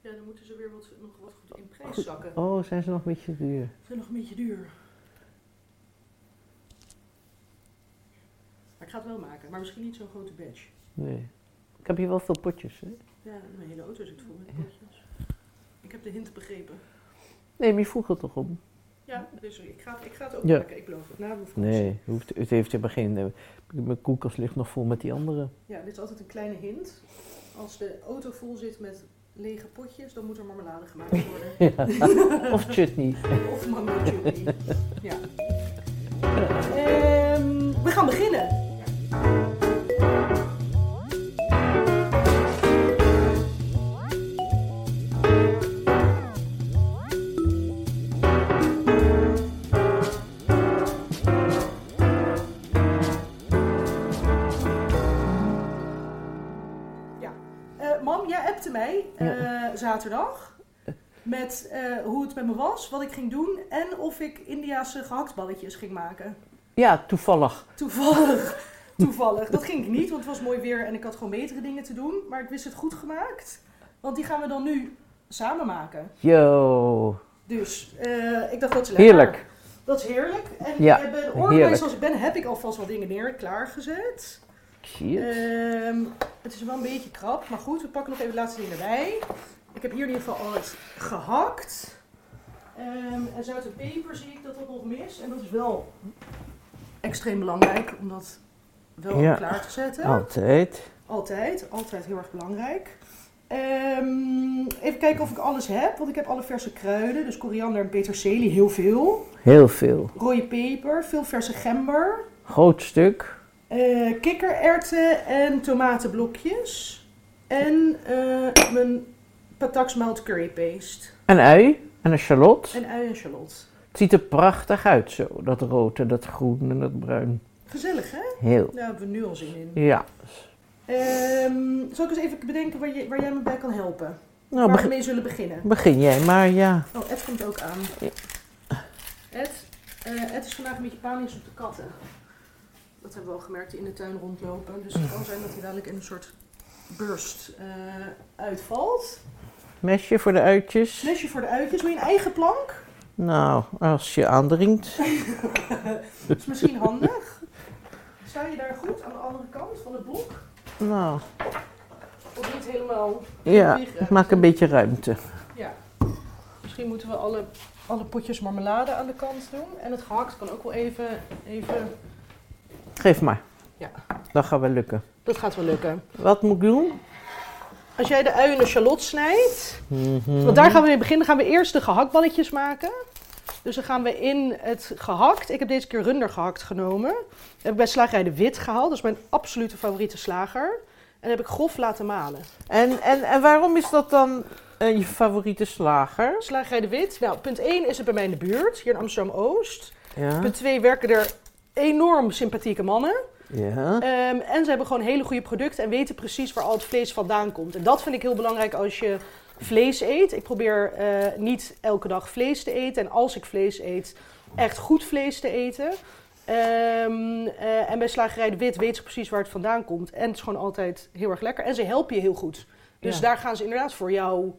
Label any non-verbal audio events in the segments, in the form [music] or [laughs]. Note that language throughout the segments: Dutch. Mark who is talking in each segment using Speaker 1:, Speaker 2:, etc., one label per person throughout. Speaker 1: Ja, dan moeten ze weer wat, nog wat goed in prijs zakken.
Speaker 2: Oh, zijn ze nog een beetje duur?
Speaker 1: Ik vind het nog een beetje duur. Maar ik ga het wel maken, maar misschien niet zo'n grote badge.
Speaker 2: Nee. Ik heb hier wel veel potjes. Hè?
Speaker 1: Ja, mijn hele auto zit vol met potjes. Ik heb de hint begrepen.
Speaker 2: Nee, maar je vroeg het toch om?
Speaker 1: Ja, dus ik ga, ik ga het ook
Speaker 2: Ja.
Speaker 1: maken, ik beloof het. Na de vakantie.
Speaker 2: Nee, hoeft, het heeft helemaal geen. eh, Mijn koelkast ligt nog vol met die andere.
Speaker 1: Ja, dit is altijd een kleine hint. Als de auto vol zit met lege potjes, dan moet er marmelade gemaakt
Speaker 2: [laughs]
Speaker 1: worden.
Speaker 2: Ja. of chutney.
Speaker 1: Of mango chutney. Ja. Ehm, we gaan beginnen. Ja. Eh, Mam, jij appte mij eh, zaterdag met eh, hoe het met me was, wat ik ging doen en of ik Indiase gehaktballetjes ging maken.
Speaker 2: Ja, toevallig.
Speaker 1: Toevallig.
Speaker 2: [laughs]
Speaker 1: Toevallig. Dat ging ik niet, want het was mooi weer en ik had gewoon betere dingen te doen. Maar ik wist het goed gemaakt, want die gaan we dan nu samen maken.
Speaker 2: Yo.
Speaker 1: Dus eh, ik dacht dat is lekker.
Speaker 2: Heerlijk.
Speaker 1: Dat is heerlijk. En
Speaker 2: Ja,
Speaker 1: ik ben
Speaker 2: heerlijk.
Speaker 1: organizer zoals ik ben, heb ik alvast wat dingen neer klaargezet.
Speaker 2: Ik zie het.
Speaker 1: Ehm, het is wel een beetje krap, maar goed, we pakken nog even de laatste dingen erbij. Ik heb hier in ieder geval al het gehakt. Ehm, en zout en peper zie ik dat dat nog mis. En dat is wel extreem belangrijk om dat wel
Speaker 2: Ja. Oh.
Speaker 1: klaar te zetten.
Speaker 2: Altijd.
Speaker 1: Altijd, altijd heel erg belangrijk. Ehm, even kijken of ik alles heb, want ik heb alle verse kruiden. Dus koriander en peterselie, heel veel.
Speaker 2: Heel veel.
Speaker 1: Rode peper, veel verse gember.
Speaker 2: Groot stuk.
Speaker 1: Eh, kikkererwten en tomatenblokjes. En eh, mijn patak smelt currypaste.
Speaker 2: Een ui. En een shallot.
Speaker 1: En ui en shallot.
Speaker 2: Het ziet er prachtig uit zo. Dat rood en dat groen en dat bruin.
Speaker 1: Gezellig, hè?
Speaker 2: Heel.
Speaker 1: Daar hebben we nu al zin in.
Speaker 2: Ja.
Speaker 1: Ehm, zal ik eens even bedenken waar, je, waar jij me bij kan helpen? waar
Speaker 2: Nou,
Speaker 1: we
Speaker 2: begin,
Speaker 1: mee zullen beginnen.
Speaker 2: begin jij maar, ja.
Speaker 1: Oh, Ed komt ook aan.
Speaker 2: Ja.
Speaker 1: Ed, eh, Ed is vandaag een beetje panisch op de katten. Dat hebben we al gemerkt, die in de tuin rondlopen. Dus het kan zijn dat hij dadelijk in een soort burst eh, uitvalt.
Speaker 2: Mesje voor de uitjes.
Speaker 1: Flesje voor de uitjes. Wil je een eigen plank?
Speaker 2: Nou, als je aandringt.
Speaker 1: Dat [laughs] is misschien handig. Sta je daar goed aan de andere kant van het blok?
Speaker 2: Nou,
Speaker 1: Of niet helemaal?
Speaker 2: ja.
Speaker 1: liggen?
Speaker 2: Maak een beetje ruimte.
Speaker 1: Ja. Misschien moeten we alle, alle potjes marmelade aan de kant doen. En het gehakt kan ook wel even, even...
Speaker 2: Geef maar.
Speaker 1: Ja.
Speaker 2: Dat gaat wel lukken.
Speaker 1: Dat gaat wel lukken.
Speaker 2: Wat moet ik doen?
Speaker 1: Als jij de ui en de shallot snijdt...
Speaker 2: Mhm.
Speaker 1: Want daar gaan we mee beginnen. Dan gaan we eerst de gehaktballetjes maken. Dus dan gaan we in het gehakt. Ik heb deze keer runder gehakt genomen. Dat heb ik bij slagerij de Wit gehaald. Dat is mijn absolute favoriete slager. En dat heb ik grof laten malen.
Speaker 2: En, en, en waarom is dat dan eh, je favoriete slager?
Speaker 1: Slagerij de Wit. Nou, punt 1 is het bij mij in de buurt, hier in Amsterdam-Oost.
Speaker 2: Ja.
Speaker 1: Punt 2 werken er enorm sympathieke mannen.
Speaker 2: Ja.
Speaker 1: Ehm, en ze hebben gewoon hele goede producten en weten precies waar al het vlees vandaan komt. En dat vind ik heel belangrijk als je vlees eet. Ik probeer eh, niet elke dag vlees te eten. En als ik vlees eet, echt goed vlees te eten. Ehm, eh, en bij Slagerij de Wit weten ze precies waar het vandaan komt. En het is gewoon altijd heel erg lekker. En ze helpen je heel goed. Dus
Speaker 2: Ja.
Speaker 1: daar gaan ze inderdaad voor jou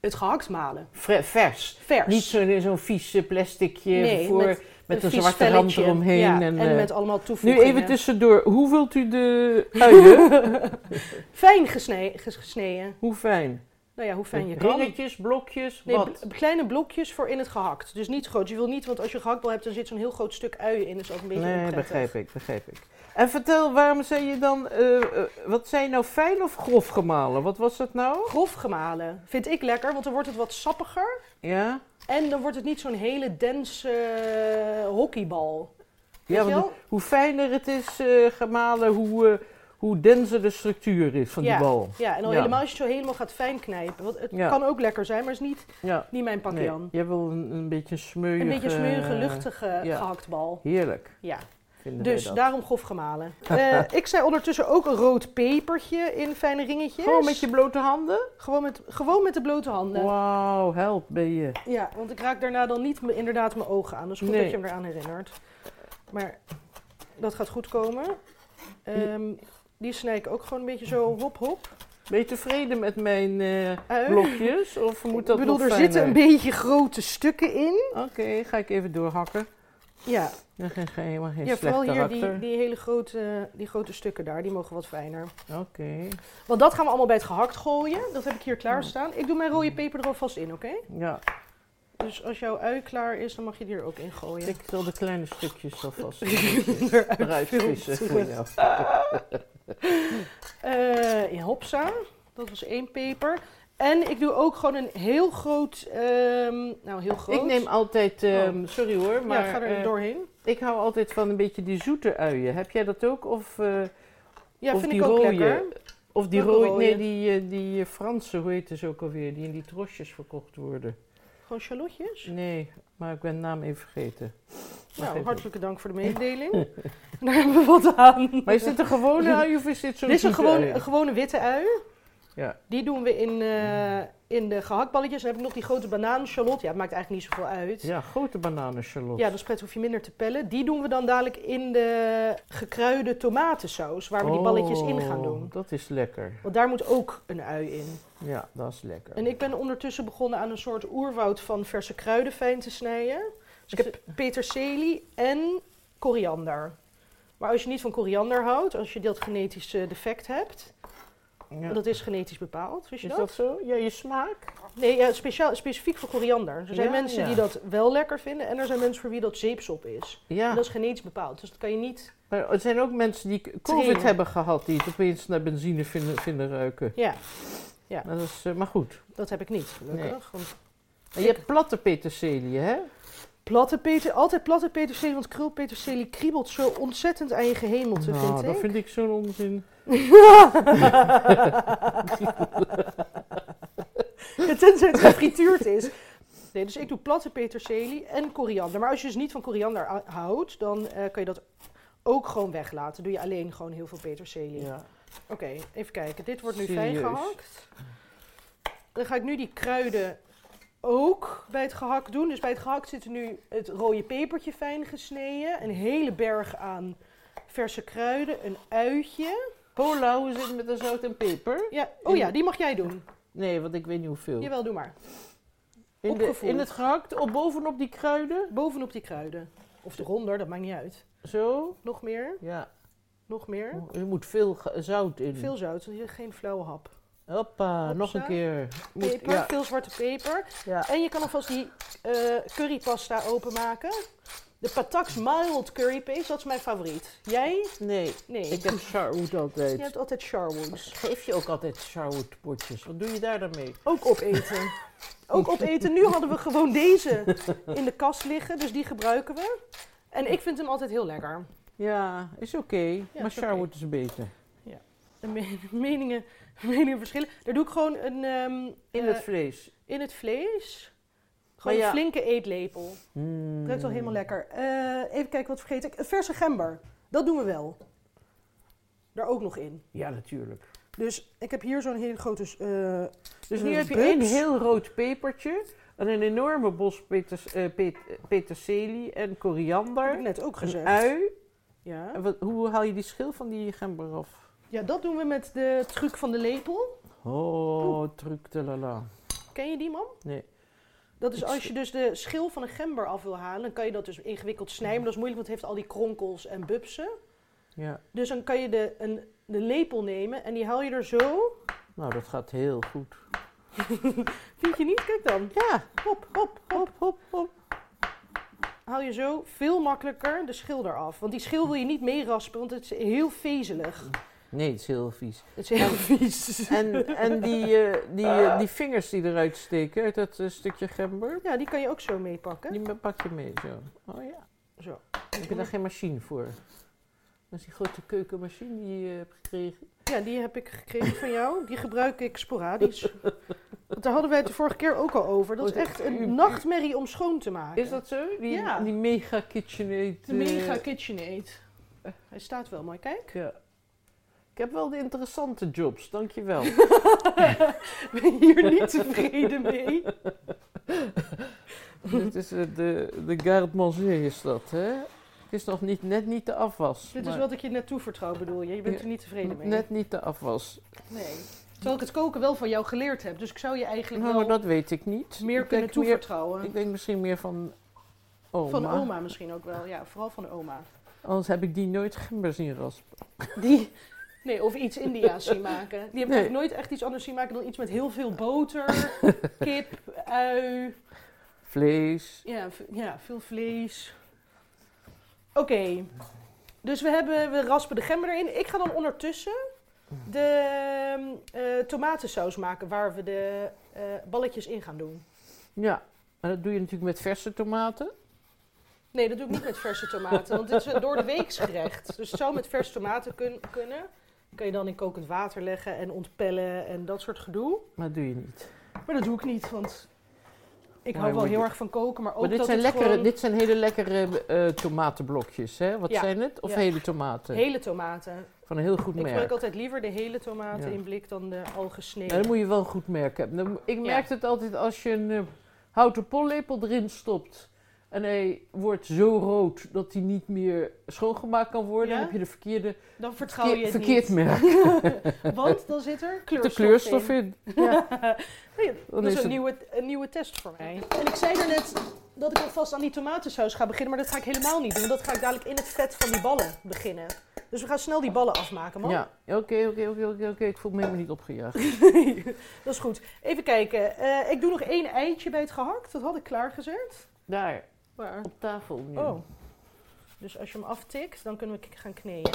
Speaker 1: het gehakt malen.
Speaker 2: Fre- vers.
Speaker 1: Vers.
Speaker 2: Niet zo- zo'n vies eh, plasticje
Speaker 1: Nee,
Speaker 2: voor,
Speaker 1: met
Speaker 2: met, een
Speaker 1: vies
Speaker 2: zwarte rand
Speaker 1: velletje.
Speaker 2: eromheen.
Speaker 1: Ja,
Speaker 2: en,
Speaker 1: en,
Speaker 2: eh,
Speaker 1: met allemaal
Speaker 2: nu
Speaker 1: toevoegingen.
Speaker 2: even tussendoor. Hoe vult u de uien?
Speaker 1: [laughs] Fijn gesne- ges- gesneden.
Speaker 2: Hoe fijn?
Speaker 1: Nou ja, hoe fijn je kan.
Speaker 2: Ringetjes, blokjes,
Speaker 1: Nee,
Speaker 2: wat?
Speaker 1: bl- kleine blokjes voor in het gehakt. Dus niet groot. Je wil niet, want als je gehakt wil hebt, dan zit zo'n heel groot stuk ui in. Dus ook een beetje
Speaker 2: Nee,
Speaker 1: onprettig.
Speaker 2: begrijp ik, begrijp ik. En vertel, waarom zei je dan, eh, eh, wat zijn nou fijn of grof gemalen? Wat was dat nou?
Speaker 1: Grof gemalen vind ik lekker, want dan wordt het wat sappiger.
Speaker 2: Ja?
Speaker 1: En dan wordt het niet zo'n hele dense eh, hockeybal.
Speaker 2: Ja,
Speaker 1: Weet je
Speaker 2: want
Speaker 1: wel?
Speaker 2: hoe fijner het is eh, gemalen, hoe, eh, hoe denser de structuur is van
Speaker 1: Ja.
Speaker 2: die bal.
Speaker 1: Ja, en dan
Speaker 2: Ja.
Speaker 1: helemaal als je het zo helemaal gaat fijn knijpen. Want het
Speaker 2: Ja.
Speaker 1: kan ook lekker zijn, maar is niet,
Speaker 2: Ja.
Speaker 1: niet mijn pakje
Speaker 2: Nee,
Speaker 1: aan.
Speaker 2: je wil een, een beetje smeuïge...
Speaker 1: Een beetje een smeurige, luchtige
Speaker 2: ja.
Speaker 1: gehaktbal.
Speaker 2: Heerlijk,
Speaker 1: Ja.
Speaker 2: vinden wij
Speaker 1: Dus
Speaker 2: dat.
Speaker 1: daarom grof gemalen.
Speaker 2: [laughs]
Speaker 1: Eh, ik zei ondertussen ook een rood pepertje in fijne ringetjes.
Speaker 2: Gewoon met je Oh. blote handen?
Speaker 1: gewoon, met, gewoon met de blote handen.
Speaker 2: Wauw, help ben je.
Speaker 1: Ja, want ik raak daarna dan niet m- inderdaad mijn ogen aan. Dus goed
Speaker 2: Nee.
Speaker 1: dat je hem eraan herinnert. Maar
Speaker 2: Hm.
Speaker 1: dat gaat goed komen. Ehm, die snij ik ook gewoon een beetje zo hop hop.
Speaker 2: Ben je tevreden met mijn eh,
Speaker 1: Eh,
Speaker 2: blokjes? Of moet dat
Speaker 1: ik bedoel,
Speaker 2: nog
Speaker 1: er zitten een
Speaker 2: fijner?
Speaker 1: beetje grote stukken in.
Speaker 2: Oké, ga ik even doorhakken.
Speaker 1: Ja,
Speaker 2: Dan geen, geen, helemaal geen
Speaker 1: ja
Speaker 2: slecht
Speaker 1: vooral hier die,
Speaker 2: karakter.
Speaker 1: die hele grote, die grote stukken daar, die mogen wat fijner.
Speaker 2: Oké.
Speaker 1: Want dat gaan we allemaal bij het gehakt gooien. Dat heb ik hier klaarstaan. Ik doe mijn rode peper er alvast in, oké?
Speaker 2: Ja,
Speaker 1: Dus als jouw ui klaar is, dan mag je die er ook in gooien.
Speaker 2: ik zal de kleine stukjes alvast
Speaker 1: Eruit
Speaker 2: eruit
Speaker 1: filteren.
Speaker 2: vissen voor jou.
Speaker 1: Eh, ja, hopsa. Dat was één peper. En ik doe ook gewoon een heel groot... ehm, nou, heel groot.
Speaker 2: Ik neem altijd, ehm, sorry hoor, maar
Speaker 1: ja, ga er
Speaker 2: eh,
Speaker 1: doorheen.
Speaker 2: ik hou altijd van een beetje die zoete uien. Heb jij dat ook? Of, eh,
Speaker 1: Ja,
Speaker 2: of
Speaker 1: vind
Speaker 2: die
Speaker 1: ik ook
Speaker 2: rode.
Speaker 1: lekker.
Speaker 2: of die
Speaker 1: Welke
Speaker 2: rode,
Speaker 1: rode?
Speaker 2: nee, die, eh, die eh, Franse, hoe heet het ook alweer, die in die trosjes verkocht worden.
Speaker 1: Gewoon shallotjes.
Speaker 2: Nee, maar ik ben de naam even vergeten. Maar
Speaker 1: Nou,
Speaker 2: geeft
Speaker 1: hartelijke dank
Speaker 2: [laughs]
Speaker 1: voor de mededeling. Daar hebben we wat aan.
Speaker 2: niet. Maar is dit een [laughs] gewone ui of is dit zo'n
Speaker 1: Dit is een
Speaker 2: zoete
Speaker 1: gewone,
Speaker 2: ui?
Speaker 1: een gewone witte ui.
Speaker 2: Ja.
Speaker 1: Die doen we in, eh, in de gehaktballetjes. Dan heb ik nog die grote banaan, shallot. Ja, het maakt eigenlijk niet zoveel uit.
Speaker 2: Ja, grote bananen, Charlotte.
Speaker 1: Ja, dus pret hoef je minder te pellen. Die doen we dan dadelijk in de gekruide tomatensaus, waar we die balletjes in gaan doen.
Speaker 2: Oh, Dat is lekker.
Speaker 1: Want daar moet ook een ui in.
Speaker 2: Ja, dat is lekker.
Speaker 1: En ik ben ondertussen begonnen aan een soort oerwoud van verse kruiden fijn te snijden. Dus ik heb peterselie en koriander. Maar als je niet van koriander houdt, als je dat genetisch eh, defect hebt,
Speaker 2: Ja.
Speaker 1: want dat is genetisch bepaald, wist je
Speaker 2: Is
Speaker 1: dat?
Speaker 2: dat zo? Ja, je smaak?
Speaker 1: Nee, ja, speciaal, specifiek voor koriander. Er zijn
Speaker 2: Ja,
Speaker 1: mensen
Speaker 2: ja.
Speaker 1: die dat wel lekker vinden en er zijn mensen voor wie dat zeepsop is.
Speaker 2: Ja.
Speaker 1: En dat is genetisch bepaald, dus dat kan je niet...
Speaker 2: Maar er zijn ook mensen die COVID
Speaker 1: Trainen.
Speaker 2: hebben gehad, die het opeens naar benzine vinden, vinden ruiken.
Speaker 1: Ja,
Speaker 2: Maar, dat is, eh, maar goed.
Speaker 1: Dat heb ik niet, gelukkig. Want
Speaker 2: En je hebt platte peterselie, hè?
Speaker 1: platte peter, altijd platte peterselie, want krulpeterselie kriebelt zo ontzettend aan je gehemelte,
Speaker 2: Nou, dat
Speaker 1: vind ik.
Speaker 2: vind ik zo'n onzin.
Speaker 1: [laughs] Tenzij het gefrituurd is. Nee, dus ik doe platte peterselie en koriander. Maar als je dus niet van koriander a- houdt, dan eh, kan je dat ook gewoon weglaten. Doe je alleen gewoon heel veel peterselie.
Speaker 2: Ja.
Speaker 1: Oké, even kijken. Dit wordt nu fijn
Speaker 2: Serieus.
Speaker 1: gehakt. Dan ga ik nu die kruiden ook bij het gehakt doen. Dus bij het gehakt zitten nu het rode pepertje fijn gesneden. Een hele berg aan verse kruiden. Een uitje.
Speaker 2: Pola, hoe zit het met de zout en peper?
Speaker 1: Ja, oh ja, die mag jij doen.
Speaker 2: Nee, want ik weet niet hoeveel.
Speaker 1: Jawel, doe maar.
Speaker 2: in, de-
Speaker 1: opgevoerd.
Speaker 2: in het gehakt, op, bovenop die kruiden.
Speaker 1: Bovenop die kruiden. Of eronder, dat maakt niet uit.
Speaker 2: Zo.
Speaker 1: Nog meer,
Speaker 2: Ja,
Speaker 1: nog meer.
Speaker 2: er moet veel ge- zout in.
Speaker 1: Veel zout, dus geen flauwe hap.
Speaker 2: Hoppa,
Speaker 1: Hopsa.
Speaker 2: nog een keer. Moet-
Speaker 1: Peper,
Speaker 2: ja,
Speaker 1: veel zwarte peper.
Speaker 2: ja.
Speaker 1: En je kan alvast die eh, currypasta openmaken. De Patak's Mild Curry Paste, dat is mijn favoriet. Jij?
Speaker 2: Nee,
Speaker 1: Nee. [laughs]
Speaker 2: ik heb charwood
Speaker 1: Je
Speaker 2: altijd.
Speaker 1: hebt altijd charwoens.
Speaker 2: Geef je ook altijd charwood potjes? Wat doe je daar dan mee?
Speaker 1: Ook
Speaker 2: [laughs]
Speaker 1: opeten. Ook opeten. Nu hadden we gewoon deze in de kast liggen, dus die gebruiken we. En ik vind hem altijd heel lekker.
Speaker 2: Ja, is oké. maar dus
Speaker 1: is oké.
Speaker 2: charwood is beter.
Speaker 1: De me- meningen, [laughs] meningen verschillen. Daar doe ik gewoon een, ehm, eh,
Speaker 2: In het vlees.
Speaker 1: in het vlees.
Speaker 2: Maar
Speaker 1: Gewoon
Speaker 2: ja.
Speaker 1: een flinke eetlepel.
Speaker 2: Mm.
Speaker 1: Ruikt wel helemaal lekker. Eh, even kijken, wat vergeet ik? Een Verse gember. Dat doen we wel. Daar ook nog in.
Speaker 2: Ja, natuurlijk.
Speaker 1: Dus ik heb hier zo'n hele grote... eh,
Speaker 2: Dus
Speaker 1: Een
Speaker 2: nu heb je
Speaker 1: bus.
Speaker 2: één heel rood pepertje. En een enorme bos peters, eh, pet- eh, peterselie en
Speaker 1: heb ik
Speaker 2: koriander.
Speaker 1: net ook
Speaker 2: Een
Speaker 1: gezegd.
Speaker 2: ui.
Speaker 1: Ja.
Speaker 2: En wat, hoe haal je die schil van die gember af?
Speaker 1: ja, dat doen we met de truc van de lepel.
Speaker 2: Oh, truc de la la.
Speaker 1: Ken je die, man?
Speaker 2: Nee.
Speaker 1: Dat is
Speaker 2: Ik
Speaker 1: als
Speaker 2: zie-
Speaker 1: je dus de schil van een gember af wil halen, dan kan je dat dus ingewikkeld snijden. Maar dat is moeilijk, want het heeft al die kronkels en bubsen.
Speaker 2: Ja,
Speaker 1: Dus dan kan je de, een, de lepel nemen en die haal je er zo.
Speaker 2: nou dat gaat heel goed.
Speaker 1: Vind je niet? Kijk dan.
Speaker 2: Ja,
Speaker 1: Hop, hop, hop.
Speaker 2: hop, hop, hop.
Speaker 1: haal je zo veel makkelijker de schil eraf. Want die schil wil je niet meeraspen, want het is heel vezelig.
Speaker 2: Nee, het is heel vies.
Speaker 1: Het is heel vies.
Speaker 2: [laughs] En, en die, eh, die, eh, die vingers die eruit steken uit dat eh, stukje gember,
Speaker 1: Ja, die kan je ook zo meepakken.
Speaker 2: die pak je mee zo. Oh ja.
Speaker 1: Zo.
Speaker 2: Heb je daar geen machine voor? Dat is die grote keukenmachine die je hebt gekregen.
Speaker 1: Ja, die heb ik gekregen van jou. Die gebruik ik sporadisch. Want daar hadden wij het de vorige keer ook al over. Dat is echt een nachtmerrie om schoon te maken.
Speaker 2: Is dat zo? Die,
Speaker 1: Ja.
Speaker 2: die mega KitchenAid.
Speaker 1: de
Speaker 2: eh,
Speaker 1: mega KitchenAid? Eh, Hij staat wel mooi, kijk. [laughs]
Speaker 2: ja. Ik heb wel de interessante jobs, dankjewel.
Speaker 1: Ik ben hier niet tevreden mee.
Speaker 2: [laughs] Dit is eh, de, de garde manger is dat, hè? Het is nog niet, net niet de afwas.
Speaker 1: Dit is
Speaker 2: maar
Speaker 1: wat ik je net toevertrouw bedoel je. Je bent er niet tevreden mee.
Speaker 2: Net niet de afwas.
Speaker 1: Nee. Terwijl ik het koken wel van jou geleerd heb. Dus ik zou je eigenlijk
Speaker 2: Nou,
Speaker 1: wel
Speaker 2: maar dat weet ik niet.
Speaker 1: meer kunnen
Speaker 2: ik denk meer-
Speaker 1: toevertrouwen.
Speaker 2: Ik denk misschien meer van oma.
Speaker 1: van oma misschien ook wel. Ja, vooral van de
Speaker 2: [laughs]
Speaker 1: oma.
Speaker 2: Anders heb ik die nooit gember zien raspen.
Speaker 1: Die... Nee, of iets India's zien maken. Die heb ik
Speaker 2: Nee.
Speaker 1: ook nooit echt iets anders zien maken dan iets met heel veel
Speaker 2: [laughs]
Speaker 1: boter, kip, ui,
Speaker 2: Vlees.
Speaker 1: ja, v- ja veel vlees. Oké, dus we, hebben, we raspen de gember erin. Ik ga dan ondertussen de ehm, eh, tomatensaus maken waar we de eh, balletjes in gaan doen.
Speaker 2: Ja, maar dat doe je natuurlijk met verse tomaten.
Speaker 1: Nee, dat doe ik niet met verse tomaten, want dit is een door de weeks gerecht. Dus het zou met verse tomaten kun- kunnen. Kun je dan in kokend water leggen en ontpellen en dat soort gedoe.
Speaker 2: Maar dat doe je niet.
Speaker 1: Maar dat doe ik niet, want ik
Speaker 2: Maar
Speaker 1: hou wel
Speaker 2: moet
Speaker 1: heel
Speaker 2: je-
Speaker 1: erg van koken, maar ook
Speaker 2: maar dit
Speaker 1: dat
Speaker 2: zijn,
Speaker 1: het
Speaker 2: lekkere,
Speaker 1: gewoon
Speaker 2: dit zijn hele lekkere eh, tomatenblokjes, hè? Wat
Speaker 1: Ja.
Speaker 2: zijn het? Of
Speaker 1: Ja.
Speaker 2: hele tomaten?
Speaker 1: hele tomaten.
Speaker 2: Van een heel goed
Speaker 1: Ik
Speaker 2: merk.
Speaker 1: gebruik altijd liever de hele tomaten
Speaker 2: Ja.
Speaker 1: in blik dan de al
Speaker 2: Ja, dan
Speaker 1: gesneden.
Speaker 2: moet je wel een goed merk hebben. Dan- Ik merk het altijd als je een eh, houten pollepel erin stopt. En hij wordt zo rood dat hij niet meer schoongemaakt kan worden.
Speaker 1: Ja?
Speaker 2: Dan heb je de verkeerde,
Speaker 1: Dan vertrouw je het
Speaker 2: verkeerd merk.
Speaker 1: niet. Want dan zit er
Speaker 2: [laughs] De
Speaker 1: kleurstof,
Speaker 2: kleurstof
Speaker 1: in.
Speaker 2: in.
Speaker 1: Nee, dat is
Speaker 2: is
Speaker 1: een
Speaker 2: het-
Speaker 1: nieuwe, een nieuwe test voor mij. En ik zei daarnet dat ik alvast aan die tomatensaus ga beginnen, maar dat ga ik helemaal niet doen. Dat ga ik dadelijk in het vet van die ballen beginnen. Dus we gaan snel die ballen afmaken, man.
Speaker 2: Ja, oké, oké, oké, oké, oké. Ik voel me helemaal niet opgejaagd.
Speaker 1: [laughs] dat is goed. Even kijken. Eh, ik doe nog één eitje bij het gehakt. Dat had ik klaargezet.
Speaker 2: Daar,
Speaker 1: Waar?
Speaker 2: op tafel nu.
Speaker 1: Oh. Dus als je hem aftikt, dan kunnen we k- gaan kneden.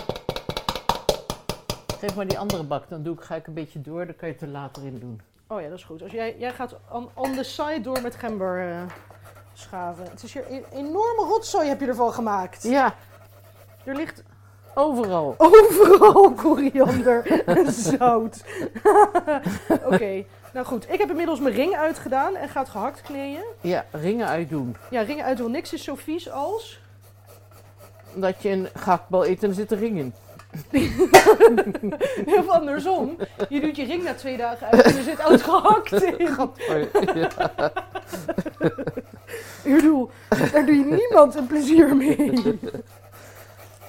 Speaker 2: Geef maar die andere bak, dan doe ik, ga ik een beetje door. Dan kan je het er later in doen.
Speaker 1: Oh ja, dat is goed. Als jij, jij gaat on, on the side door met gember eh, schaven. Het is hier een enorme rotzooi heb je ervan gemaakt.
Speaker 2: Ja,
Speaker 1: Er ligt
Speaker 2: overal.
Speaker 1: Overal koriander en zout. [laughs] Oké, nou goed. Ik heb inmiddels mijn ring uitgedaan en ga het gehakt kneden.
Speaker 2: Ja, ringen uitdoen.
Speaker 1: Ja, ring uit wil niks is zo vies als...
Speaker 2: Omdat je een gehaktbal eet en er zit een ring in.
Speaker 1: Of andersom. Je doet je ring na twee dagen uit en er zit oud gehakt in.
Speaker 2: [laughs] Oh, ja.
Speaker 1: Ik bedoel, daar doe je niemand een plezier mee.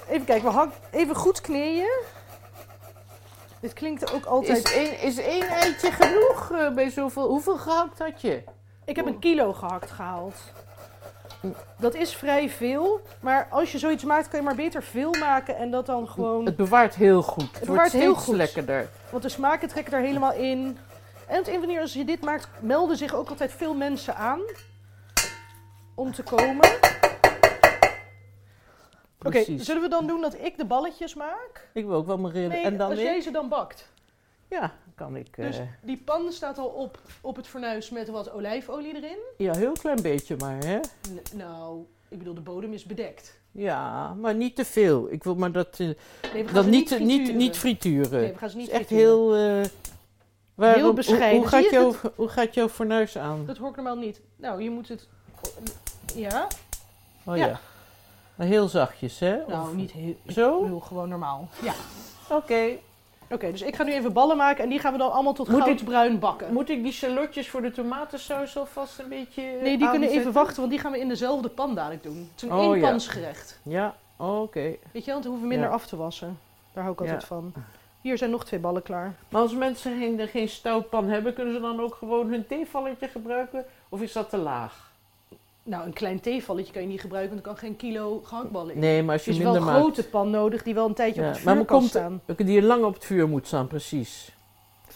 Speaker 1: Even kijken, we hak even goed kneden. Dit klinkt ook altijd...
Speaker 2: Is één, is één eitje genoeg eh, bij zoveel? Hoeveel gehakt had je?
Speaker 1: Ik heb
Speaker 2: Oh.
Speaker 1: een kilo gehakt gehaald. Dat is vrij veel, maar als je zoiets maakt, kan je maar beter veel maken en dat dan gewoon.
Speaker 2: Het bewaart heel goed. Het,
Speaker 1: bewaart
Speaker 2: wordt
Speaker 1: heel
Speaker 2: steeds
Speaker 1: goed.
Speaker 2: lekkerder.
Speaker 1: Want de smaken trekken daar helemaal in. En op de een of andere manier, als je dit maakt, melden zich ook altijd veel mensen aan om te komen. Oké,
Speaker 2: Precies.
Speaker 1: zullen we dan doen dat ik de balletjes maak?
Speaker 2: Ik wil ook wel mijn rillen.
Speaker 1: Nee,
Speaker 2: en dan
Speaker 1: als
Speaker 2: ik?
Speaker 1: jij ze dan bakt.
Speaker 2: Ja, kan ik. eh,
Speaker 1: Dus die pan staat al op, op het fornuis met wat olijfolie erin.
Speaker 2: Ja, heel klein beetje maar, hè?
Speaker 1: N- nou, ik bedoel, de bodem is bedekt.
Speaker 2: Ja, maar niet te veel. Ik wil maar dat, eh,
Speaker 1: Nee, we gaan
Speaker 2: dat
Speaker 1: ze
Speaker 2: niet, niet,
Speaker 1: frituren.
Speaker 2: niet, frituren.
Speaker 1: Nee, we gaan ze niet
Speaker 2: Het is echt
Speaker 1: frituren.
Speaker 2: heel. eh, waarom- hoe-
Speaker 1: bescheiden.
Speaker 2: Hoe,
Speaker 1: Zie je,
Speaker 2: gaat jouw, hoe gaat jouw fornuis aan?
Speaker 1: Dat hoor ik normaal niet. Nou, je moet het. Ja?
Speaker 2: Oh
Speaker 1: ja.
Speaker 2: ja. Maar heel zachtjes, hè? Of-
Speaker 1: Nou, niet heel.
Speaker 2: Zo?
Speaker 1: Ik bedoel, gewoon normaal.
Speaker 2: [laughs]
Speaker 1: Ja.
Speaker 2: Oké.
Speaker 1: Oké, dus ik ga nu even ballen maken en die gaan we dan allemaal tot
Speaker 2: Moet ik-
Speaker 1: goudbruin bakken.
Speaker 2: Moet ik die salotjes voor de tomatensaus alvast een beetje. eh,
Speaker 1: nee, die kunnen even
Speaker 2: aanzetten?
Speaker 1: wachten, want die gaan we in dezelfde pan dadelijk doen. Het is een
Speaker 2: Oh, ja.
Speaker 1: eenpansgerecht.
Speaker 2: Ja, oké.
Speaker 1: Weet je, want dan hoeven we minder
Speaker 2: Ja.
Speaker 1: af te wassen. Daar hou ik altijd
Speaker 2: Ja.
Speaker 1: van. Hier zijn nog twee ballen klaar.
Speaker 2: Maar als mensen geen, geen stoutpan hebben, kunnen ze dan ook gewoon hun theevalletje gebruiken? Of is dat te laag?
Speaker 1: Nou, een klein theevalletje kan je niet gebruiken, want er kan geen kilo gehaktballen in. Dus
Speaker 2: Nee, maar als
Speaker 1: je is wel een grote pan nodig die wel een tijdje
Speaker 2: Ja,
Speaker 1: op het
Speaker 2: maar
Speaker 1: vuur kan
Speaker 2: komt-
Speaker 1: staan.
Speaker 2: Die lang op het vuur moet staan, precies.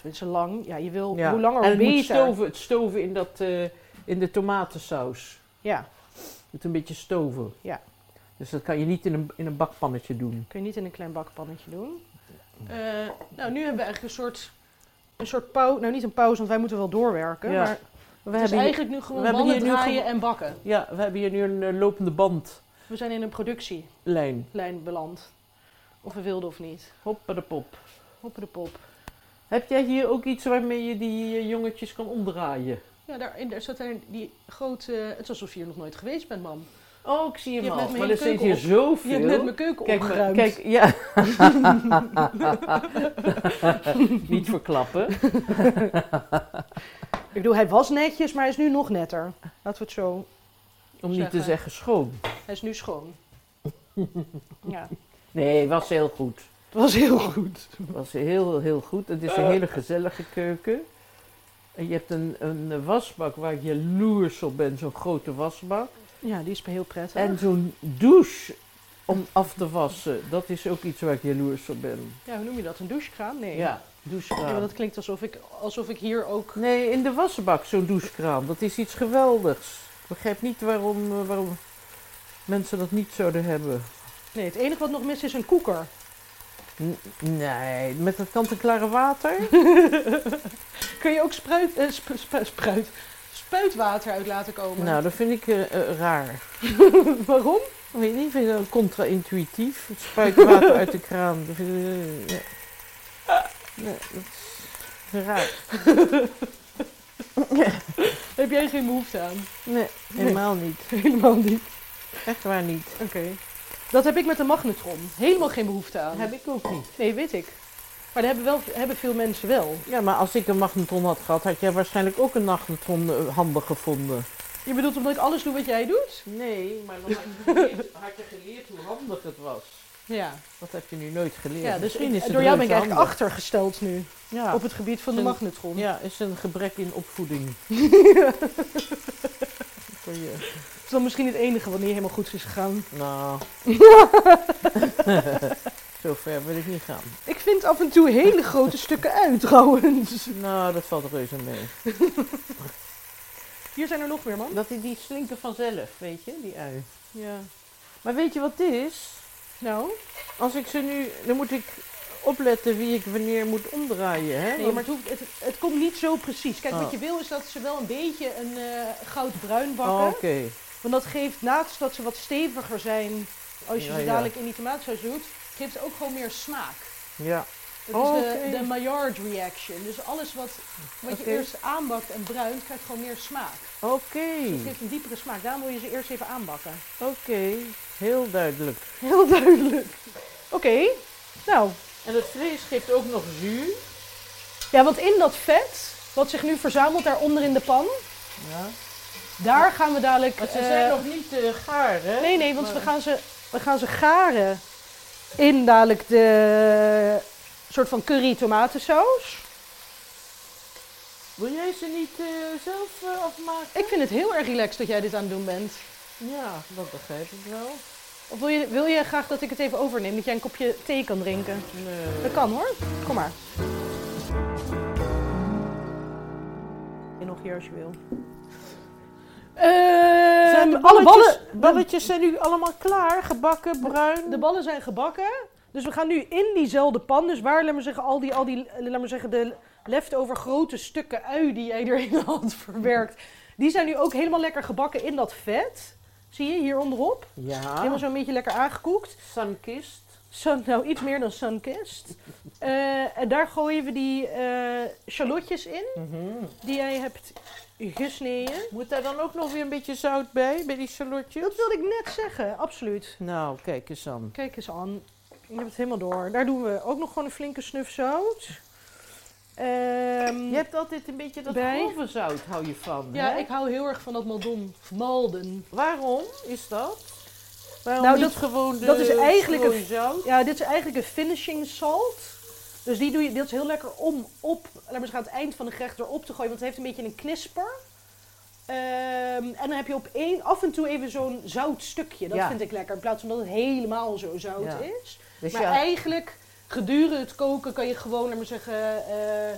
Speaker 1: Het is lang. Ja, je wil
Speaker 2: Ja.
Speaker 1: hoe langer
Speaker 2: en
Speaker 1: hoe
Speaker 2: het
Speaker 1: beter.
Speaker 2: moet stoven, het stoven in, dat, eh, in de tomatensaus.
Speaker 1: Ja,
Speaker 2: Het een beetje stoven.
Speaker 1: Ja.
Speaker 2: Dus dat kan je niet in een, in een bakpannetje doen.
Speaker 1: Kun je niet in een klein bakpannetje doen. nou, nu hebben we eigenlijk een soort, een soort pauze. Nou, niet een pauze, want wij moeten wel doorwerken.
Speaker 2: Ja.
Speaker 1: Maar
Speaker 2: We
Speaker 1: het is
Speaker 2: hebben, hier,
Speaker 1: eigenlijk nu gewoon
Speaker 2: we hebben
Speaker 1: ballen
Speaker 2: hier nu
Speaker 1: draaien
Speaker 2: gewoon-
Speaker 1: en bakken.
Speaker 2: ja, we hebben hier nu een eh, lopende bandlijn.
Speaker 1: We zijn in een productielijn beland. Of we wilden of niet.
Speaker 2: Hoppa de pop.
Speaker 1: Hoppen de pop.
Speaker 2: Heb jij hier ook iets waarmee je die eh, jongetjes kan omdraaien?
Speaker 1: Ja, daar, in, daar zat er die grote... Het is alsof je hier nog nooit geweest bent, mam.
Speaker 2: Oh, ik zie hem
Speaker 1: Je hebt net
Speaker 2: al.
Speaker 1: mijn
Speaker 2: Maar
Speaker 1: hele
Speaker 2: er zit
Speaker 1: keuken
Speaker 2: hier
Speaker 1: op-
Speaker 2: zoveel.
Speaker 1: Je hebt net mijn keuken
Speaker 2: Kijk, maar,
Speaker 1: opgeruimd.
Speaker 2: kijk,
Speaker 1: [laughs]
Speaker 2: ja. Niet verklappen.
Speaker 1: Ik bedoel, hij was netjes, maar hij is nu nog netter. Laten we het zo...
Speaker 2: Om niet te
Speaker 1: Zeggen.
Speaker 2: zeggen schoon.
Speaker 1: Hij is nu schoon. [laughs] ja.
Speaker 2: Nee, was heel goed.
Speaker 1: Het was heel goed.
Speaker 2: Het was heel, heel goed. Het is een
Speaker 1: Eh.
Speaker 2: hele gezellige keuken. En je hebt een, een wasbak waar ik jaloers op ben, zo'n grote wasbak.
Speaker 1: Ja, die is me heel prettig.
Speaker 2: En zo'n douche om af te wassen, dat is ook iets waar ik jaloers op ben.
Speaker 1: Ja, hoe noem je dat? Een douchekraan? Nee.
Speaker 2: Ja,
Speaker 1: Ja, maar
Speaker 2: douchekraan.
Speaker 1: dat klinkt alsof ik, alsof ik hier ook...
Speaker 2: Nee, in de wasbak zo'n douchekraan, dat is iets geweldigs. Ik begrijp niet waarom, eh, waarom mensen dat niet zouden hebben.
Speaker 1: Nee, het enige wat nog mis is een koeker. [laughs]
Speaker 2: N- nee, met dat kant-en-klare water?
Speaker 1: [laughs] Kun je ook spruit, eh, sp- sp- spruit, spuitwater uit laten komen? [laughs]
Speaker 2: Nou, dat vind ik eh, eh, raar.
Speaker 1: Waarom?
Speaker 2: Ik weet niet, ik vind ik dat contra-intuïtief. Het spuit water uit de kraan. Dat vind ik, eh, nee. Nee, dat is raar.
Speaker 1: Heb jij geen behoefte aan? [laughs]
Speaker 2: Nee, helemaal niet.
Speaker 1: Helemaal niet.
Speaker 2: Echt waar niet.
Speaker 1: Oké. Dat heb ik met de magnetron. Helemaal geen behoefte aan.
Speaker 2: Heb ik ook niet.
Speaker 1: Nee, weet ik. Maar dat hebben, wel, hebben veel mensen wel.
Speaker 2: Ja, maar als ik een magnetron had gehad, had jij waarschijnlijk ook een magnetron eh, handig gevonden.
Speaker 1: Je bedoelt omdat ik alles doe wat jij doet?
Speaker 2: Nee, maar dan had [laughs] je geleerd, hoe handig het was.
Speaker 1: Ja.
Speaker 2: Dat heb je nu nooit geleerd.
Speaker 1: ja dus
Speaker 2: Misschien
Speaker 1: ik-
Speaker 2: is het
Speaker 1: door jou ben ik
Speaker 2: reuze
Speaker 1: eigenlijk
Speaker 2: handig.
Speaker 1: achtergesteld nu.
Speaker 2: Ja.
Speaker 1: Op het gebied van de
Speaker 2: Een-
Speaker 1: magnetron.
Speaker 2: ja, is een gebrek in [laughs] opvoeding. Voor je.
Speaker 1: Dat is dan misschien het enige wat niet helemaal goed is gegaan.
Speaker 2: Nou. [laughs] Zo ver wil ik niet gaan.
Speaker 1: Ik vind af en toe hele grote [laughs] stukken uit trouwens.
Speaker 2: Nou, dat valt reuze mee.
Speaker 1: Hier zijn er nog meer, man.
Speaker 2: Dat die, die slinken vanzelf, weet je, die ui.
Speaker 1: Ja.
Speaker 2: Maar weet je wat dit is?
Speaker 1: Nou?
Speaker 2: Als ik ze nu, dan moet ik opletten wie ik wanneer moet omdraaien, hè?
Speaker 1: Nee, maar het,
Speaker 2: Want-
Speaker 1: hoeft, het, het komt niet zo precies. Kijk, wat
Speaker 2: Oh.
Speaker 1: je wil is dat ze wel een beetje een eh, goudbruin bakken.
Speaker 2: Oh, Oké.
Speaker 1: Want dat geeft, naast dat ze wat steviger zijn als je
Speaker 2: Ja,
Speaker 1: ze
Speaker 2: ja.
Speaker 1: dadelijk in die tomaatsaus doet, geeft het ook gewoon meer smaak.
Speaker 2: Ja.
Speaker 1: Dat
Speaker 2: Oh,
Speaker 1: is de,
Speaker 2: oké.
Speaker 1: de Maillard reaction. Dus alles wat, wat
Speaker 2: Oké.
Speaker 1: je eerst aanbakt en bruint, krijgt gewoon meer smaak.
Speaker 2: Oké. Hmm.
Speaker 1: Het geeft een diepere smaak. Daarom wil je ze eerst even aanbakken.
Speaker 2: Oké. Heel duidelijk.
Speaker 1: Heel duidelijk. Oké. Nou,
Speaker 2: En het vlees geeft ook nog zuur.
Speaker 1: ja, want in dat vet, wat zich nu verzamelt daaronder in de pan,
Speaker 2: Ja.
Speaker 1: daar gaan we dadelijk...
Speaker 2: Maar ze
Speaker 1: eh,
Speaker 2: zijn nog niet eh, gaar, hè?
Speaker 1: Nee, nee, want we
Speaker 2: Maar-
Speaker 1: gaan ze, we gaan ze garen in dadelijk de soort van curry tomatensaus.
Speaker 2: Wil jij ze niet eh, zelf eh, afmaken?
Speaker 1: Ik vind het heel erg relaxed dat jij dit aan het doen bent.
Speaker 2: Ja, dat begrijp ik wel.
Speaker 1: Of wil je, wil je graag dat ik het even overneem, dat jij een kopje thee kan drinken?
Speaker 2: Nee.
Speaker 1: Dat kan hoor. Kom maar. En nog hier als je wil.
Speaker 2: Zijn Eh, de
Speaker 1: alle ballen,
Speaker 2: balletjes- balletjes zijn nu allemaal klaar, gebakken, bruin.
Speaker 1: de ballen zijn gebakken. Dus we gaan nu in diezelfde pan. Dus waar, laat maar zeggen, al die, al die eh, laat maar zeggen, de leftover grote stukken ui die jij erin had [laughs] verwerkt. Die zijn nu ook helemaal lekker gebakken in dat vet. Zie je hier onderop?
Speaker 2: ja,
Speaker 1: Helemaal zo'n beetje lekker aangekoekt.
Speaker 2: Ah. sunkist.
Speaker 1: Sun, nou, iets meer dan sunkist. Eh, en daar gooien we die eh shallotjes in die jij hebt gesneden.
Speaker 2: Mhm. Moet daar dan ook nog weer een beetje zout bij, bij die salotjes?
Speaker 1: Dat wilde ik net zeggen, absoluut.
Speaker 2: Nou, kijk eens aan.
Speaker 1: Kijk eens aan. Je hebt het helemaal door. Daar doen we ook nog gewoon een flinke snuf zout. Ehm,
Speaker 2: Je hebt altijd een beetje dat
Speaker 1: Bij.
Speaker 2: grove zout, hou je van,
Speaker 1: ja,
Speaker 2: hè?
Speaker 1: ik hou heel erg van dat maldon. Of Malden.
Speaker 2: Waarom is dat? Waarom
Speaker 1: Nou,
Speaker 2: niet
Speaker 1: dat-
Speaker 2: gewoon de
Speaker 1: dat is eigenlijk
Speaker 2: gewoon
Speaker 1: een-
Speaker 2: zout?
Speaker 1: Ja, dit is eigenlijk een finishing salt. Dus die doe je, dit is heel lekker om op, laat maar zeggen, aan het eind van de gerecht erop te gooien. Want het heeft een beetje een knisper. Ehm, en dan heb je op één, af en toe even zo'n zout stukje. Dat
Speaker 2: Ja.
Speaker 1: vind ik lekker. In plaats van dat het helemaal zo zout
Speaker 2: Ja.
Speaker 1: is.
Speaker 2: Dus
Speaker 1: maar
Speaker 2: ja,
Speaker 1: eigenlijk, gedurende het koken kan je gewoon, laat maar zeggen, eh, eh,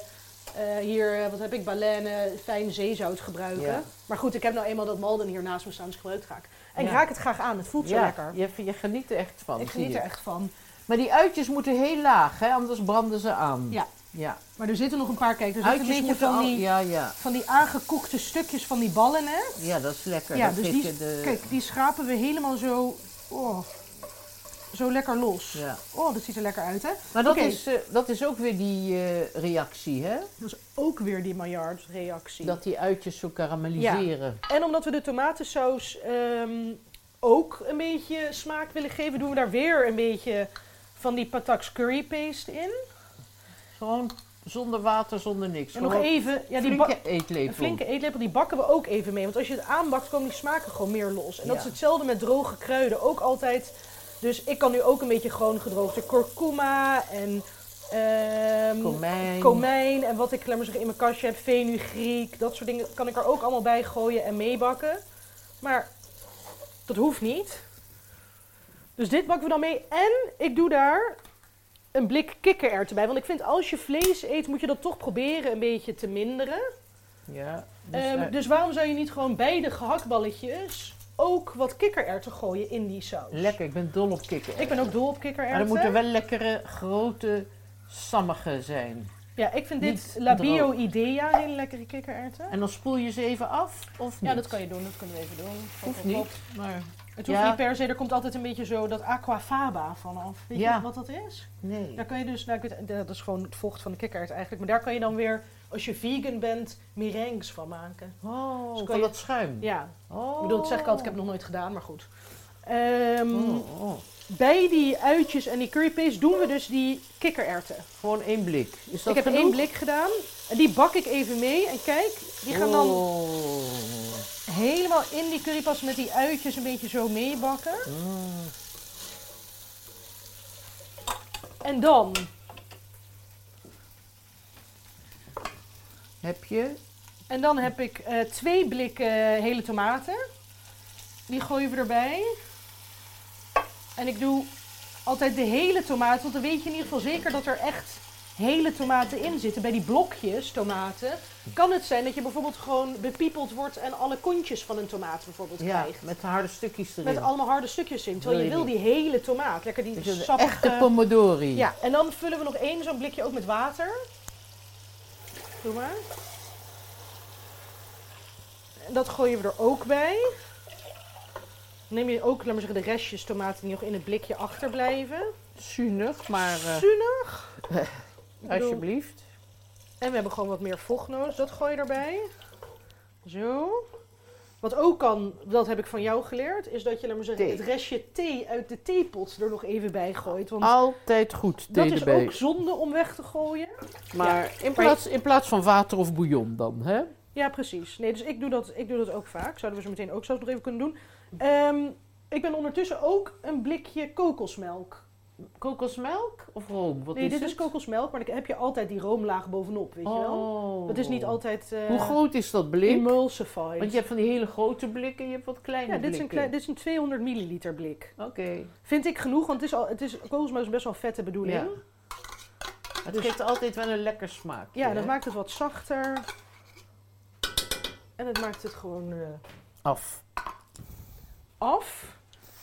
Speaker 1: hier, eh, wat heb ik, baleine, fijn zeezout gebruiken.
Speaker 2: Ja.
Speaker 1: Maar goed, ik heb nou eenmaal dat malden hier naast me staan, dus gebruik het graag. En ik
Speaker 2: Ja.
Speaker 1: raak het graag aan, het voelt zo
Speaker 2: ja,
Speaker 1: lekker.
Speaker 2: Je, je geniet er echt van.
Speaker 1: ik
Speaker 2: zie
Speaker 1: geniet
Speaker 2: je.
Speaker 1: er echt van.
Speaker 2: Maar die uitjes moeten heel laag, hè? anders branden ze aan.
Speaker 1: Ja.
Speaker 2: ja.
Speaker 1: Maar er zitten nog een paar, Dus kijk, er zitten een
Speaker 2: Uitjes
Speaker 1: beetje
Speaker 2: moeten
Speaker 1: van
Speaker 2: al-
Speaker 1: die,
Speaker 2: Ja, ja.
Speaker 1: van die aangekoekte stukjes van die ballen, hè.
Speaker 2: ja, dat is lekker.
Speaker 1: Ja,
Speaker 2: dat
Speaker 1: dus
Speaker 2: geeft
Speaker 1: die,
Speaker 2: je de...
Speaker 1: kijk, die schrapen we helemaal zo, oh, zo lekker los.
Speaker 2: Ja.
Speaker 1: Oh, dat ziet er lekker uit, hè.
Speaker 2: Maar dat,
Speaker 1: Oké.
Speaker 2: is, eh, dat is ook weer die eh, reactie, hè?
Speaker 1: Dat is ook weer die Maillard-reactie.
Speaker 2: Dat die uitjes zo karamelliseren.
Speaker 1: En omdat we de tomatensaus ehm, ook een beetje smaak willen geven, doen we daar weer een beetje van die Patak's curry paste in.
Speaker 2: Gewoon zonder water, zonder niks.
Speaker 1: En nog
Speaker 2: Gewoon
Speaker 1: even, ja, die ba-
Speaker 2: flinke
Speaker 1: een
Speaker 2: eetlepel.
Speaker 1: flinke eetlepel, die bakken we ook even mee. Want als je het aanbakt, komen die smaken gewoon meer los. En dat
Speaker 2: Ja.
Speaker 1: is hetzelfde met droge kruiden. Ook altijd Dus ik kan nu ook een beetje gewoon gedroogde kurkuma en ehm,
Speaker 2: Komijn.
Speaker 1: komijn en wat ik laat maar zeggen, in mijn kastje heb, fenugreek, dat soort dingen kan ik er ook allemaal bij gooien en meebakken. Maar dat hoeft niet. Dus dit bakken we dan mee en ik doe daar een blik kikkererwten bij. Want ik vind als je vlees eet moet je dat toch proberen een beetje te minderen.
Speaker 2: Ja. Dus,
Speaker 1: Dus,
Speaker 2: eh,
Speaker 1: dus waarom zou je niet gewoon bij de gehaktballetjes ook wat kikkererwten gooien in die saus?
Speaker 2: lekker, ik ben dol op kikken.
Speaker 1: Ik ben ook dol op
Speaker 2: maar
Speaker 1: kikkererwten.
Speaker 2: dan moeten wel lekkere, grote, sammige zijn.
Speaker 1: Ja, ik vind dit
Speaker 2: niet
Speaker 1: La
Speaker 2: droog.
Speaker 1: Bio Idea hele lekkere kikkererwten.
Speaker 2: En dan spoel je ze even af, of niet?
Speaker 1: Ja, dat kan je doen, dat kunnen we even doen. Hop,
Speaker 2: Hoeft
Speaker 1: hop, hop.
Speaker 2: niet, maar
Speaker 1: Het hoeft
Speaker 2: Ja.
Speaker 1: niet per se, er komt altijd een beetje zo dat aquafaba vanaf. Weet
Speaker 2: Ja.
Speaker 1: je wat dat is?
Speaker 2: nee.
Speaker 1: Daar kan je dus, nou, ik weet- dat is gewoon het vocht van de kikkererwt eigenlijk. Maar daar kan je dan weer, als je vegan bent, meringues van maken.
Speaker 2: Oh,
Speaker 1: Dus kan
Speaker 2: van
Speaker 1: je-
Speaker 2: dat schuim.
Speaker 1: Ja,
Speaker 2: Oh.
Speaker 1: ik bedoel, dat zeg ik altijd, ik heb het nog nooit gedaan, maar goed. Ehm,
Speaker 2: Oh, oh.
Speaker 1: Bij die uitjes en die currypaste doen we dus die kikkererwten.
Speaker 2: Gewoon één blik. Is dat
Speaker 1: Ik heb
Speaker 2: genoeg?
Speaker 1: één blik gedaan en die bak ik even mee. En kijk, die gaan dan
Speaker 2: Oh.
Speaker 1: helemaal in die currypas met die uitjes een beetje zo meebakken.
Speaker 2: Mm.
Speaker 1: En dan,
Speaker 2: Heb je?
Speaker 1: en dan heb ik eh, twee blikken hele tomaten. Die gooien we erbij. En ik doe altijd de hele tomaten, want dan weet je in ieder geval zeker dat er echt hele tomaten in zitten. Bij die blokjes tomaten kan het zijn dat je bijvoorbeeld gewoon bepiepeld wordt en alle kontjes van een tomaat bijvoorbeeld
Speaker 2: Ja,
Speaker 1: krijgt.
Speaker 2: met de harde stukjes erin.
Speaker 1: Met allemaal harde stukjes in. Terwijl je
Speaker 2: Wil
Speaker 1: wil
Speaker 2: je
Speaker 1: die hele tomaat. Lekker
Speaker 2: Dus
Speaker 1: die
Speaker 2: een
Speaker 1: sappige...
Speaker 2: echte pomodori.
Speaker 1: Ja, en dan vullen we nog één zo'n blikje ook met water. Doe maar. En dat gooien we er ook bij. Neem je ook, laat maar zeggen, de restjes tomaten die nog in het blikje achterblijven.
Speaker 2: Zuinig, maar eh,
Speaker 1: Zuinig.
Speaker 2: [laughs]
Speaker 1: Ik bedoel-
Speaker 2: alsjeblieft.
Speaker 1: En we hebben gewoon wat meer vocht nodig. dus Dat gooi je erbij. Zo. Wat ook kan, dat heb ik van jou geleerd, is dat je laat maar zeggen,
Speaker 2: Thee.
Speaker 1: het restje thee uit de theepot er nog even bij gooit. Want
Speaker 2: Altijd goed,
Speaker 1: dat
Speaker 2: Ah, thee
Speaker 1: is
Speaker 2: erbij.
Speaker 1: ook zonde om weg te gooien.
Speaker 2: Maar in, plaats, in plaats van water of bouillon dan, hè?
Speaker 1: Ja, precies. Nee, dus ik doe dat, ik doe dat ook vaak. Zouden we zo meteen ook zelfs nog even kunnen doen. Ehm, ik ben ondertussen ook een blikje kokosmelk.
Speaker 2: Kokosmelk of room? Wat
Speaker 1: nee, dit
Speaker 2: het?
Speaker 1: is kokosmelk, maar dan heb je altijd die roomlaag bovenop, weet je wel?
Speaker 2: Oh.
Speaker 1: Dat is niet altijd eh
Speaker 2: Hoe groot is dat blik?
Speaker 1: emulsified.
Speaker 2: Want je hebt van die hele grote blikken, je hebt wat kleine
Speaker 1: ja, dit is, een
Speaker 2: blikken.
Speaker 1: klein, dit is een 200 milliliter blik.
Speaker 2: Oké.
Speaker 1: Vind ik genoeg, want het is al, het is, kokosmelk is best wel een vette bedoeling.
Speaker 2: Ja. Het
Speaker 1: Dus-
Speaker 2: geeft altijd wel een lekker smaak.
Speaker 1: Ja, dat maakt het wat zachter. En het maakt het gewoon... eh,
Speaker 2: Af.
Speaker 1: af.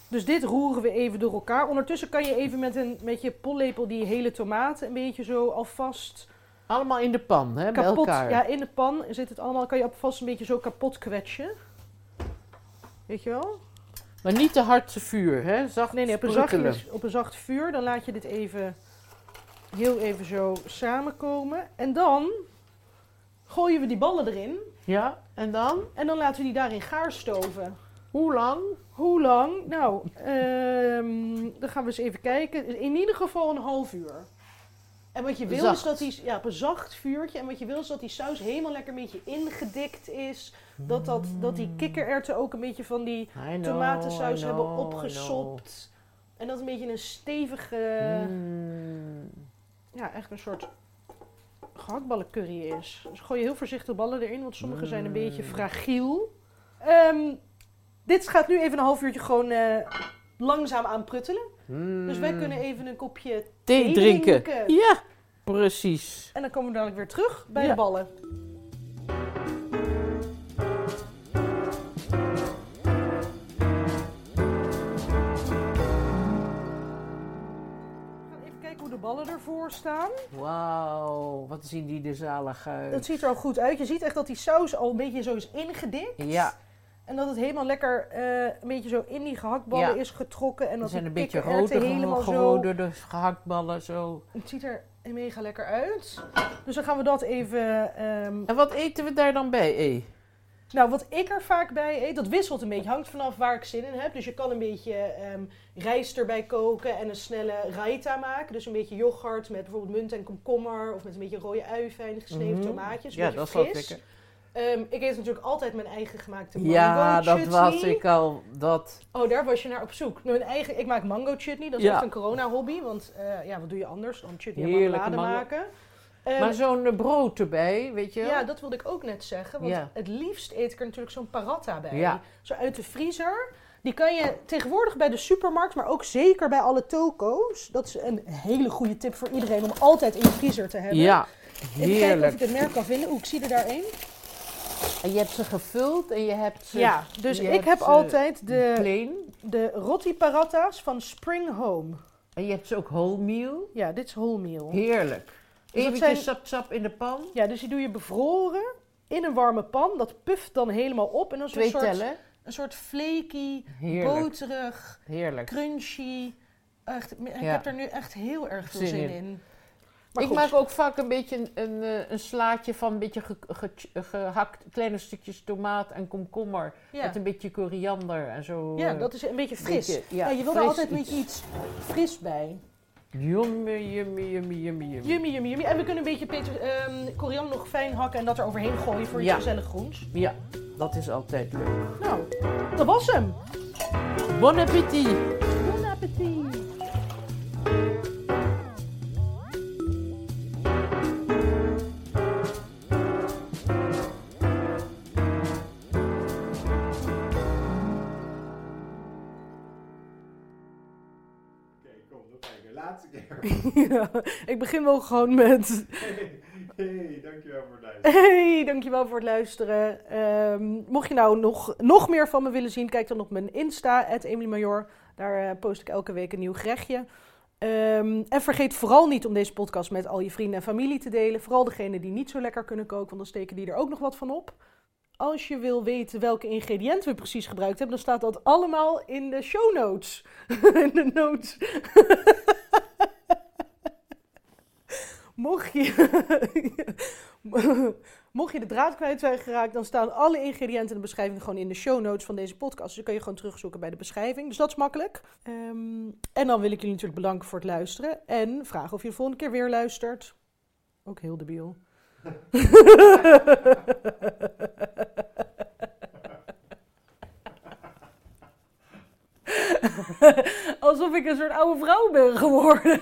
Speaker 1: Dus dit roeren we even door elkaar. Ondertussen kan je even met, een, met je pollepel die hele tomaten een beetje zo alvast
Speaker 2: Allemaal in de pan, hè? bij
Speaker 1: kapot.
Speaker 2: elkaar.
Speaker 1: Ja, in de pan zit het allemaal. Kan je alvast een beetje zo kapot kwetsen. Weet je wel?
Speaker 2: Maar niet te hard te vuur, hè? Zacht
Speaker 1: Nee, nee op, een
Speaker 2: sprokkelen.
Speaker 1: zachtjes, op een zacht vuur. Dan laat je dit even heel even zo samenkomen. En dan gooien we die ballen erin.
Speaker 2: Ja, en dan?
Speaker 1: En dan laten we die daarin gaarstoven.
Speaker 2: Hoe lang?
Speaker 1: Hoe lang? Nou, ehm, dan gaan we eens even kijken. In ieder geval een half uur. En wat je wil is
Speaker 2: Zacht.
Speaker 1: dat die, ja, op een zacht vuurtje. En wat je wil is dat die saus helemaal lekker een beetje ingedikt is. Dat, dat, dat die kikkererwten ook een beetje van die
Speaker 2: I know,
Speaker 1: tomatensaus
Speaker 2: I
Speaker 1: hebben
Speaker 2: know, I know.
Speaker 1: opgesopt. En dat een beetje een stevige,
Speaker 2: Mm.
Speaker 1: ja, echt een soort gehaktballencurry is. Dus gooi je heel voorzichtig ballen erin, want sommige zijn een beetje
Speaker 2: Mm.
Speaker 1: fragiel. Ehm, dit gaat nu even een half uurtje gewoon eh, langzaam aan pruttelen. Dus wij
Speaker 2: Mm.
Speaker 1: kunnen even een kopje
Speaker 2: thee
Speaker 1: thee
Speaker 2: drinken.
Speaker 1: drinken.
Speaker 2: Ja, precies.
Speaker 1: en dan komen we dadelijk weer terug bij
Speaker 2: Ja.
Speaker 1: de ballen. We gaan even kijken hoe de ballen ervoor staan.
Speaker 2: Wauw, wat zien die er zalig uit.
Speaker 1: Het ziet er al goed uit. Je ziet echt dat die saus al een beetje zo is ingedikt.
Speaker 2: Ja,
Speaker 1: En dat het helemaal lekker eh, een beetje zo in die gehaktballen
Speaker 2: Ja.
Speaker 1: is getrokken. En
Speaker 2: ze
Speaker 1: dat
Speaker 2: zijn
Speaker 1: die
Speaker 2: een beetje
Speaker 1: kikkererwten
Speaker 2: rood
Speaker 1: helemaal zo...
Speaker 2: geworden, de gehaktballen zo.
Speaker 1: Het ziet er mega lekker uit. Dus dan gaan we dat even... ehm,
Speaker 2: En wat eten we daar dan bij, E?
Speaker 1: Nou, wat ik er vaak bij eet, dat wisselt een beetje. Hangt vanaf waar ik zin in heb. Dus je kan een beetje ehm, rijst erbij koken en een snelle raita maken. Dus een beetje yoghurt met bijvoorbeeld munt en komkommer. Of met een beetje rode uivijn, gesneden
Speaker 2: Mhm.
Speaker 1: tomaatjes. Een
Speaker 2: Ja,
Speaker 1: beetje
Speaker 2: dat is wel
Speaker 1: fris.
Speaker 2: lekker.
Speaker 1: Ehm, ik eet natuurlijk altijd mijn eigen gemaakte mango
Speaker 2: Ja, dat
Speaker 1: chutney.
Speaker 2: was ik al. Dat,
Speaker 1: Oh, daar was je naar op zoek. Mijn eigen, ik maak mango chutney. Dat is
Speaker 2: Ja.
Speaker 1: echt een corona-hobby. Want eh, ja, wat doe je anders dan chutney en
Speaker 2: Heerlijke
Speaker 1: marmelade
Speaker 2: mango.
Speaker 1: maken? Ehm,
Speaker 2: maar zo'n eh, brood erbij, weet je wel?
Speaker 1: ja, dat wilde ik ook net zeggen. Want
Speaker 2: Ja.
Speaker 1: het liefst eet ik er natuurlijk zo'n paratha bij.
Speaker 2: Ja.
Speaker 1: Zo uit de vriezer. Die kan je tegenwoordig bij de supermarkt, maar ook zeker bij alle toko's. Dat is een hele goede tip voor iedereen om altijd in je vriezer te hebben.
Speaker 2: Ja,
Speaker 1: Even kijken of ik
Speaker 2: heerlijk.
Speaker 1: het merk kan vinden. Oeh, ik zie er daar één.
Speaker 2: En je hebt ze gevuld en je hebt ze
Speaker 1: Ja, dus
Speaker 2: je
Speaker 1: ik
Speaker 2: hebt
Speaker 1: heb
Speaker 2: ze
Speaker 1: altijd de,
Speaker 2: plain.
Speaker 1: de roti paratta's van Spring Home.
Speaker 2: En je hebt ze ook wholemeal.
Speaker 1: Ja, dit is wholemeal.
Speaker 2: Heerlijk.
Speaker 1: Dus dat
Speaker 2: Eventjes
Speaker 1: zijn-
Speaker 2: sap-sap in de pan.
Speaker 1: Ja, dus die doe je bevroren in een warme pan. Dat puft dan helemaal op. En dan is het
Speaker 2: Twee
Speaker 1: een soort,
Speaker 2: tellen.
Speaker 1: een soort flaky,
Speaker 2: Heerlijk.
Speaker 1: boterig,
Speaker 2: Heerlijk.
Speaker 1: crunchy. Echt, ik
Speaker 2: Ja.
Speaker 1: heb er nu echt heel erg veel
Speaker 2: Zin
Speaker 1: zin in.
Speaker 2: in.
Speaker 1: Maar
Speaker 2: ik
Speaker 1: goed,
Speaker 2: maak ook vaak een beetje een, een, eh, een slaatje van een beetje ge- ge- gehakt kleine stukjes tomaat en komkommer.
Speaker 1: ja.
Speaker 2: Met een beetje koriander en zo.
Speaker 1: ja,
Speaker 2: eh,
Speaker 1: dat is een beetje fris.
Speaker 2: beetje,
Speaker 1: ja,
Speaker 2: ja,
Speaker 1: je wil er
Speaker 2: fris
Speaker 1: altijd een
Speaker 2: iets.
Speaker 1: beetje iets fris bij.
Speaker 2: Yummy, yummy, yummy, yummy, yummy.
Speaker 1: Yummy, yummy, yummy. En we kunnen een beetje peter, ehm, koriander nog fijn hakken en dat er overheen gooien voor iets
Speaker 2: Ja.
Speaker 1: gezellig groens.
Speaker 2: Ja, dat is altijd leuk.
Speaker 1: Nou, dat was hem.
Speaker 2: Bon appétit!
Speaker 1: Bon appétit.
Speaker 3: Oké, kom, nog kijken. Laatste keer.
Speaker 1: [laughs] Ja, ik begin wel gewoon met...
Speaker 3: Hey, hey, dankjewel voor het luisteren.
Speaker 1: [laughs] Hey, dankjewel voor het luisteren. Ehm, mocht je nou nog, nog meer van me willen zien, kijk dan op mijn Insta, @emilymajor. Daar eh, post ik elke week een nieuw gerechtje. Ehm, en vergeet vooral niet om deze podcast met al je vrienden en familie te delen. Vooral degenen die niet zo lekker kunnen koken, want dan steken die er ook nog wat van op. Als je wil weten welke ingrediënten we precies gebruikt hebben, dan staat dat allemaal in de show notes. [laughs] in de notes. [laughs] Mocht [laughs] je... [laughs] Mocht je de draad kwijt zijn geraakt, dan staan alle ingrediënten en de beschrijving gewoon in de show notes van deze podcast. Dus dan kun je gewoon terugzoeken bij de beschrijving. Dus dat is makkelijk. Ehm, en dan wil ik jullie natuurlijk bedanken voor het luisteren. En vragen of je de volgende keer weer luistert. Ook heel debiel. [laughs] [laughs] Alsof ik een soort oude vrouw ben geworden.